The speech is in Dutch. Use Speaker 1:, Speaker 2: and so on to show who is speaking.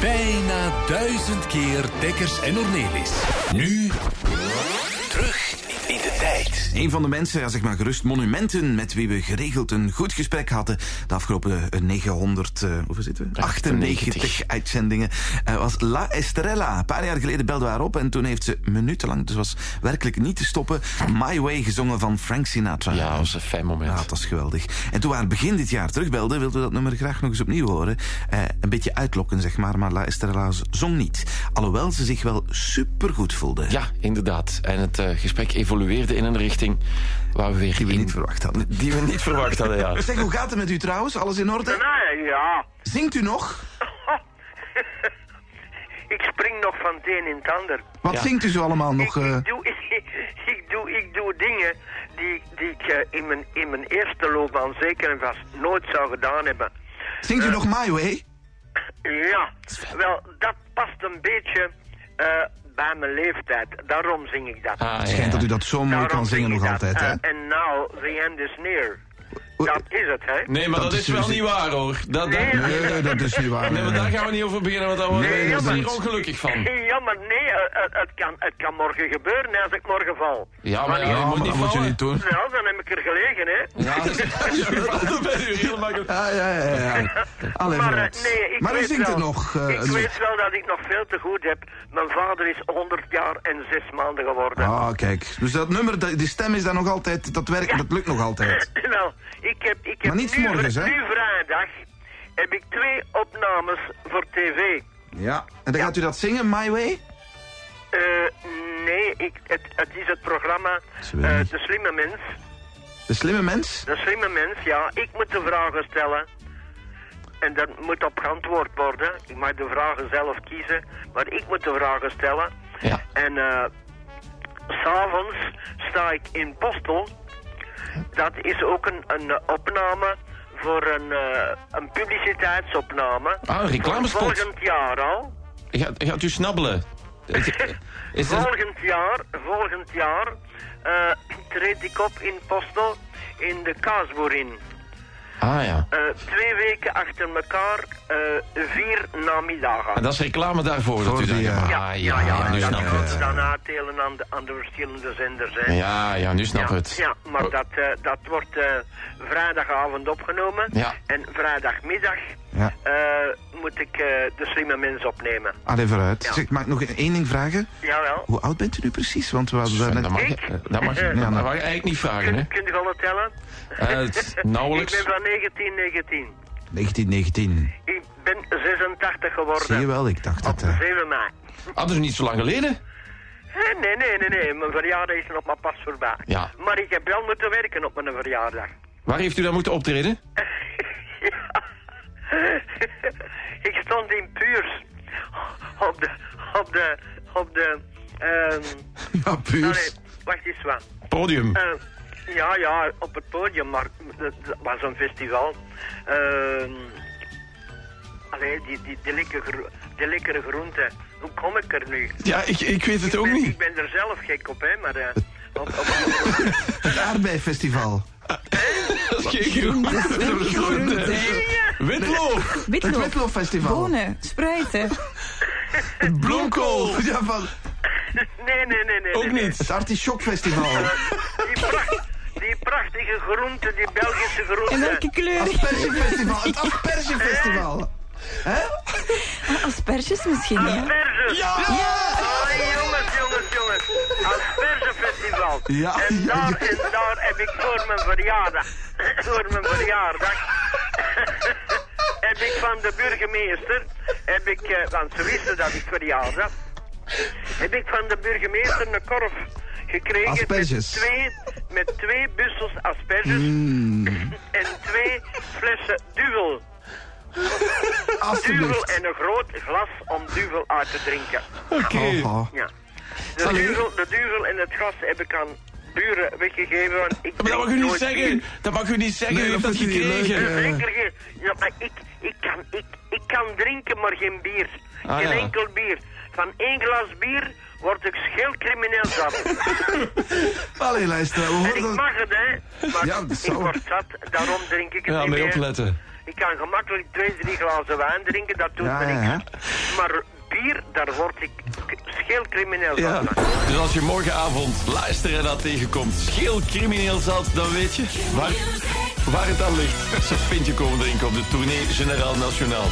Speaker 1: Bijna duizend keer Dekkers en Ornelis. Nu terug in de tijd.
Speaker 2: Een van de mensen, ja, zeg maar gerust, monumenten met wie we geregeld een goed gesprek hadden de afgelopen eh, 900, eh, hoeveel zitten we? 98,
Speaker 3: 98.
Speaker 2: uitzendingen, eh, was La Estrella. Een paar jaar geleden belde we haar op en toen heeft ze minutenlang, dus was werkelijk niet te stoppen, My Way gezongen van Frank Sinatra.
Speaker 3: Ja, dat was een fijn moment.
Speaker 2: Ja, dat was geweldig. En toen we haar begin dit jaar terugbelden, wilden we dat nummer graag nog eens opnieuw horen. Eh, een beetje uitlokken, zeg maar, maar La Estrella zong niet. Alhoewel ze zich wel supergoed voelde.
Speaker 3: Ja, inderdaad. En het eh, gesprek evolueerde in een richting waar we weer
Speaker 2: Die we
Speaker 3: in-
Speaker 2: niet verwacht hadden.
Speaker 3: die we niet verwacht hadden, ja.
Speaker 2: Zeg, hoe gaat het met u trouwens? Alles in orde?
Speaker 4: Nee, Nou ja.
Speaker 2: Zingt u nog?
Speaker 4: ik spring nog van het een in het ander.
Speaker 2: Wat
Speaker 3: Ja.
Speaker 2: zingt u zo allemaal nog?
Speaker 4: ik,
Speaker 2: eh?
Speaker 4: ik, doe, ik, ik doe, ik doe dingen die, die ik eh, in, mijn, in mijn eerste loopbaan zeker en vast nooit zou gedaan hebben.
Speaker 2: zingt u nog My Way?
Speaker 4: Ja, wel, dat past een beetje eh, bij mijn leeftijd. Daarom zing ik dat.
Speaker 3: Ah, ja.
Speaker 2: Schijnt dat u dat zo mooi
Speaker 4: Daarom
Speaker 2: kan
Speaker 4: zing
Speaker 2: zingen
Speaker 4: ik
Speaker 2: nog
Speaker 4: dat.
Speaker 2: altijd, hè?
Speaker 4: Eh, En now the end is near.
Speaker 2: Oei,
Speaker 4: Dat is het, hè?
Speaker 3: Nee, maar
Speaker 2: Dat
Speaker 3: dat,
Speaker 2: is
Speaker 3: is wel
Speaker 2: muziek.
Speaker 3: niet waar, hoor. Dat, dat,
Speaker 4: Nee,
Speaker 3: nee,
Speaker 2: Nee, nee, dat is niet waar.
Speaker 3: maar daar gaan we niet over beginnen, want daar worden
Speaker 2: Nee,
Speaker 3: we
Speaker 2: dat
Speaker 3: zeer
Speaker 2: niet.
Speaker 3: ongelukkig van.
Speaker 4: Jammer, nee, eh, het, het, kan, het kan morgen gebeuren hè, als ik morgen val.
Speaker 3: Ja, maar, ja,
Speaker 2: Ja,
Speaker 3: je
Speaker 2: maar
Speaker 3: moet niet
Speaker 2: dat moet je
Speaker 3: vallen.
Speaker 2: niet doen.
Speaker 4: Nou, dan heb ik er gelegen, hè?
Speaker 3: Ja, dat is Dan ben je heel makkelijk.
Speaker 2: Ja, ja, ja. ja. Allee,
Speaker 4: Maar, eh,
Speaker 2: vooruit.
Speaker 4: nee, ik
Speaker 2: maar u
Speaker 4: weet
Speaker 2: zingt
Speaker 4: wel,
Speaker 2: het nog. eh,
Speaker 4: ik
Speaker 2: een-
Speaker 4: weet wel dat ik nog veel te goed heb. Mijn vader is 100 jaar en 6 maanden geworden.
Speaker 2: Ah, kijk. Dus dat nummer, dat- die stem is daar nog altijd, dat werkt, dat lukt nog altijd.
Speaker 4: Nou, ik heb, ik heb
Speaker 2: Maar niet
Speaker 4: nu,
Speaker 2: morgens, hè?
Speaker 4: nu vrijdag heb ik twee opnames voor tv.
Speaker 2: Ja. En dan gaat u dat zingen, My Way?
Speaker 4: Eh, nee, ik, het, het is het programma
Speaker 2: Ze wil
Speaker 4: eh,
Speaker 2: niet.
Speaker 4: De Slimme Mens.
Speaker 2: De slimme mens?
Speaker 4: De Slimme Mens, ja. Ik moet de vragen stellen. En dat moet op geantwoord worden. Ik mag de vragen zelf kiezen. Maar ik moet de vragen stellen.
Speaker 3: Ja.
Speaker 4: En eh, s s'avonds sta ik in Postel. Dat is ook een, een eh, opname voor een, eh, een publiciteitsopname.
Speaker 3: Ah, een reclamespot.
Speaker 4: Voor Volgend jaar al.
Speaker 3: Gaat, gaat u snabbelen? Is dat...
Speaker 4: Volgend jaar, volgend jaar eh, treed ik op in Postel in de Kaasboerin.
Speaker 3: Ah, ja.
Speaker 4: Eh, twee weken achter elkaar, eh, vier namiddagen.
Speaker 3: En dat is reclame daarvoor,
Speaker 2: Voor
Speaker 3: dat u
Speaker 2: die,
Speaker 3: dat...
Speaker 2: eh,
Speaker 3: Ah, ja, nu
Speaker 4: dat
Speaker 3: snap ik
Speaker 4: gaan
Speaker 3: het.
Speaker 4: we dan uitdelen aan de, aan de verschillende zenders. Hè.
Speaker 3: Ja, ja, nu snap
Speaker 4: ja,
Speaker 3: ik het.
Speaker 4: ja, maar
Speaker 3: Oh.
Speaker 4: dat, eh, dat wordt eh, vrijdagavond opgenomen.
Speaker 3: Ja.
Speaker 4: En vrijdagmiddag
Speaker 2: Ja.
Speaker 4: eh, moet ik eh, de slimme mens opnemen.
Speaker 2: Allee, vooruit.
Speaker 4: Ja.
Speaker 2: Zeg, mag ik nog e- één ding vragen?
Speaker 4: Jawel.
Speaker 2: Hoe oud bent u nu precies? Want we hadden daar
Speaker 3: Sven,
Speaker 2: net...
Speaker 3: dat mag, je-
Speaker 4: Ik?
Speaker 3: dat mag, je-
Speaker 4: Ja,
Speaker 3: dat mag
Speaker 2: maar-
Speaker 3: je eigenlijk niet vragen, hè?
Speaker 4: Kun, kunt u wel het tellen?
Speaker 3: Eh, het-
Speaker 4: Ik
Speaker 3: nauwelijks.
Speaker 4: ben van 1919.
Speaker 2: 1919.
Speaker 4: Ik ben 86 geworden.
Speaker 2: Zie je wel, ik dacht
Speaker 4: Op
Speaker 2: het. eh.
Speaker 4: 7 mei.
Speaker 3: Ah, dus niet zo lang geleden?
Speaker 4: Eh, Nee, nee, nee, nee. Mijn verjaardag is nog maar pas voorbij.
Speaker 3: Ja.
Speaker 4: Maar ik heb wel moeten werken op mijn verjaardag.
Speaker 3: Waar heeft u dan moeten optreden?
Speaker 4: ik stond in Puurs. Op de... Op de... Op de... ehm
Speaker 2: Ja,
Speaker 4: allee,
Speaker 2: puur.
Speaker 4: wacht eens wat.
Speaker 3: Podium.
Speaker 4: Eh, ja, ja, op het podium, maar dat dat was een festival. Ehm allee, die, die, die, lekkere, gro- die lekkere groenten. Hoe kom ik er nu?
Speaker 3: Ja, ik, ik weet het
Speaker 4: Ik
Speaker 3: ook
Speaker 4: ben,
Speaker 3: niet.
Speaker 4: ik ben er zelf gek op, hè, maar... eh, op, op,
Speaker 2: Het aardbeifestival.
Speaker 3: Dat is geen groente. Dat is groente. Witloof,
Speaker 2: Het
Speaker 5: Witloof,
Speaker 2: Witlooffestival.
Speaker 5: bonen, spruiten.
Speaker 3: bloemkool.
Speaker 2: Ja, van
Speaker 4: nee, nee, nee, nee.
Speaker 3: Ook
Speaker 4: nee,
Speaker 3: niet.
Speaker 2: het Artichokfestival.
Speaker 4: Die, pracht, die prachtige groente, die Belgische
Speaker 5: En
Speaker 4: groente.
Speaker 5: welke kleur?
Speaker 2: Aspergefestival. Het Aspergefestival.
Speaker 5: Asperges misschien, ja.
Speaker 4: Asperges.
Speaker 2: Ja!
Speaker 4: Ai, jongens, jongens, jongens. Aspergefestival.
Speaker 2: Ja,
Speaker 4: en,
Speaker 2: ja,
Speaker 4: daar,
Speaker 2: ja.
Speaker 4: en daar heb ik voor mijn verjaardag... voor mijn verjaardag... heb ik van de burgemeester... heb ik... eh, want ze wisten dat ik verjaardag... heb ik van de burgemeester een korf gekregen...
Speaker 2: Asperges.
Speaker 4: Met twee, met twee bussels asperges...
Speaker 2: Hmm.
Speaker 4: en twee flessen duvel. Duvel
Speaker 2: Alsjeblieft.
Speaker 4: en een groot glas om duvel uit te drinken.
Speaker 3: Oké.
Speaker 2: Oh, oh.
Speaker 4: Ja. De
Speaker 3: Allee.
Speaker 4: duvel, de duvel en het gas heb ik aan buren weggegeven. Want ik
Speaker 3: Maar dat mag u
Speaker 4: drink
Speaker 3: niet
Speaker 4: nooit
Speaker 3: zeggen.
Speaker 4: bier.
Speaker 3: Dat mag u niet zeggen.
Speaker 2: Nee,
Speaker 3: U heeft
Speaker 2: dat
Speaker 3: dat
Speaker 2: vindt u niet leuk,
Speaker 3: gekregen.
Speaker 2: hè?
Speaker 4: Zeker geen- Ja, maar ik, ik, kan, ik, ik kan drinken, maar geen bier.
Speaker 3: Ah,
Speaker 4: geen
Speaker 3: ja.
Speaker 4: enkel bier. Van één glas bier word ik scheelcrimineel zat.
Speaker 2: Allee, luister. We
Speaker 4: en ik
Speaker 2: horen dat...
Speaker 4: mag het, hè. Maar
Speaker 2: Ja, dat zou-
Speaker 4: ik word zat, daarom drink ik het
Speaker 3: Ja,
Speaker 4: niet
Speaker 3: mee
Speaker 4: meer.
Speaker 3: opletten.
Speaker 4: Ik kan gemakkelijk twee, drie glazen wijn drinken, dat doet
Speaker 2: Ja,
Speaker 4: me niks.
Speaker 2: ja, ja.
Speaker 4: Maar bier, daar word ik k- scheel crimineel van.
Speaker 3: Ja. Dus als je morgenavond luisteren dat tegenkomt, scheel crimineel zat, dan weet je waar, waar het aan ligt. Ze pintje komen drinken op de tournee Generaal Nationaal.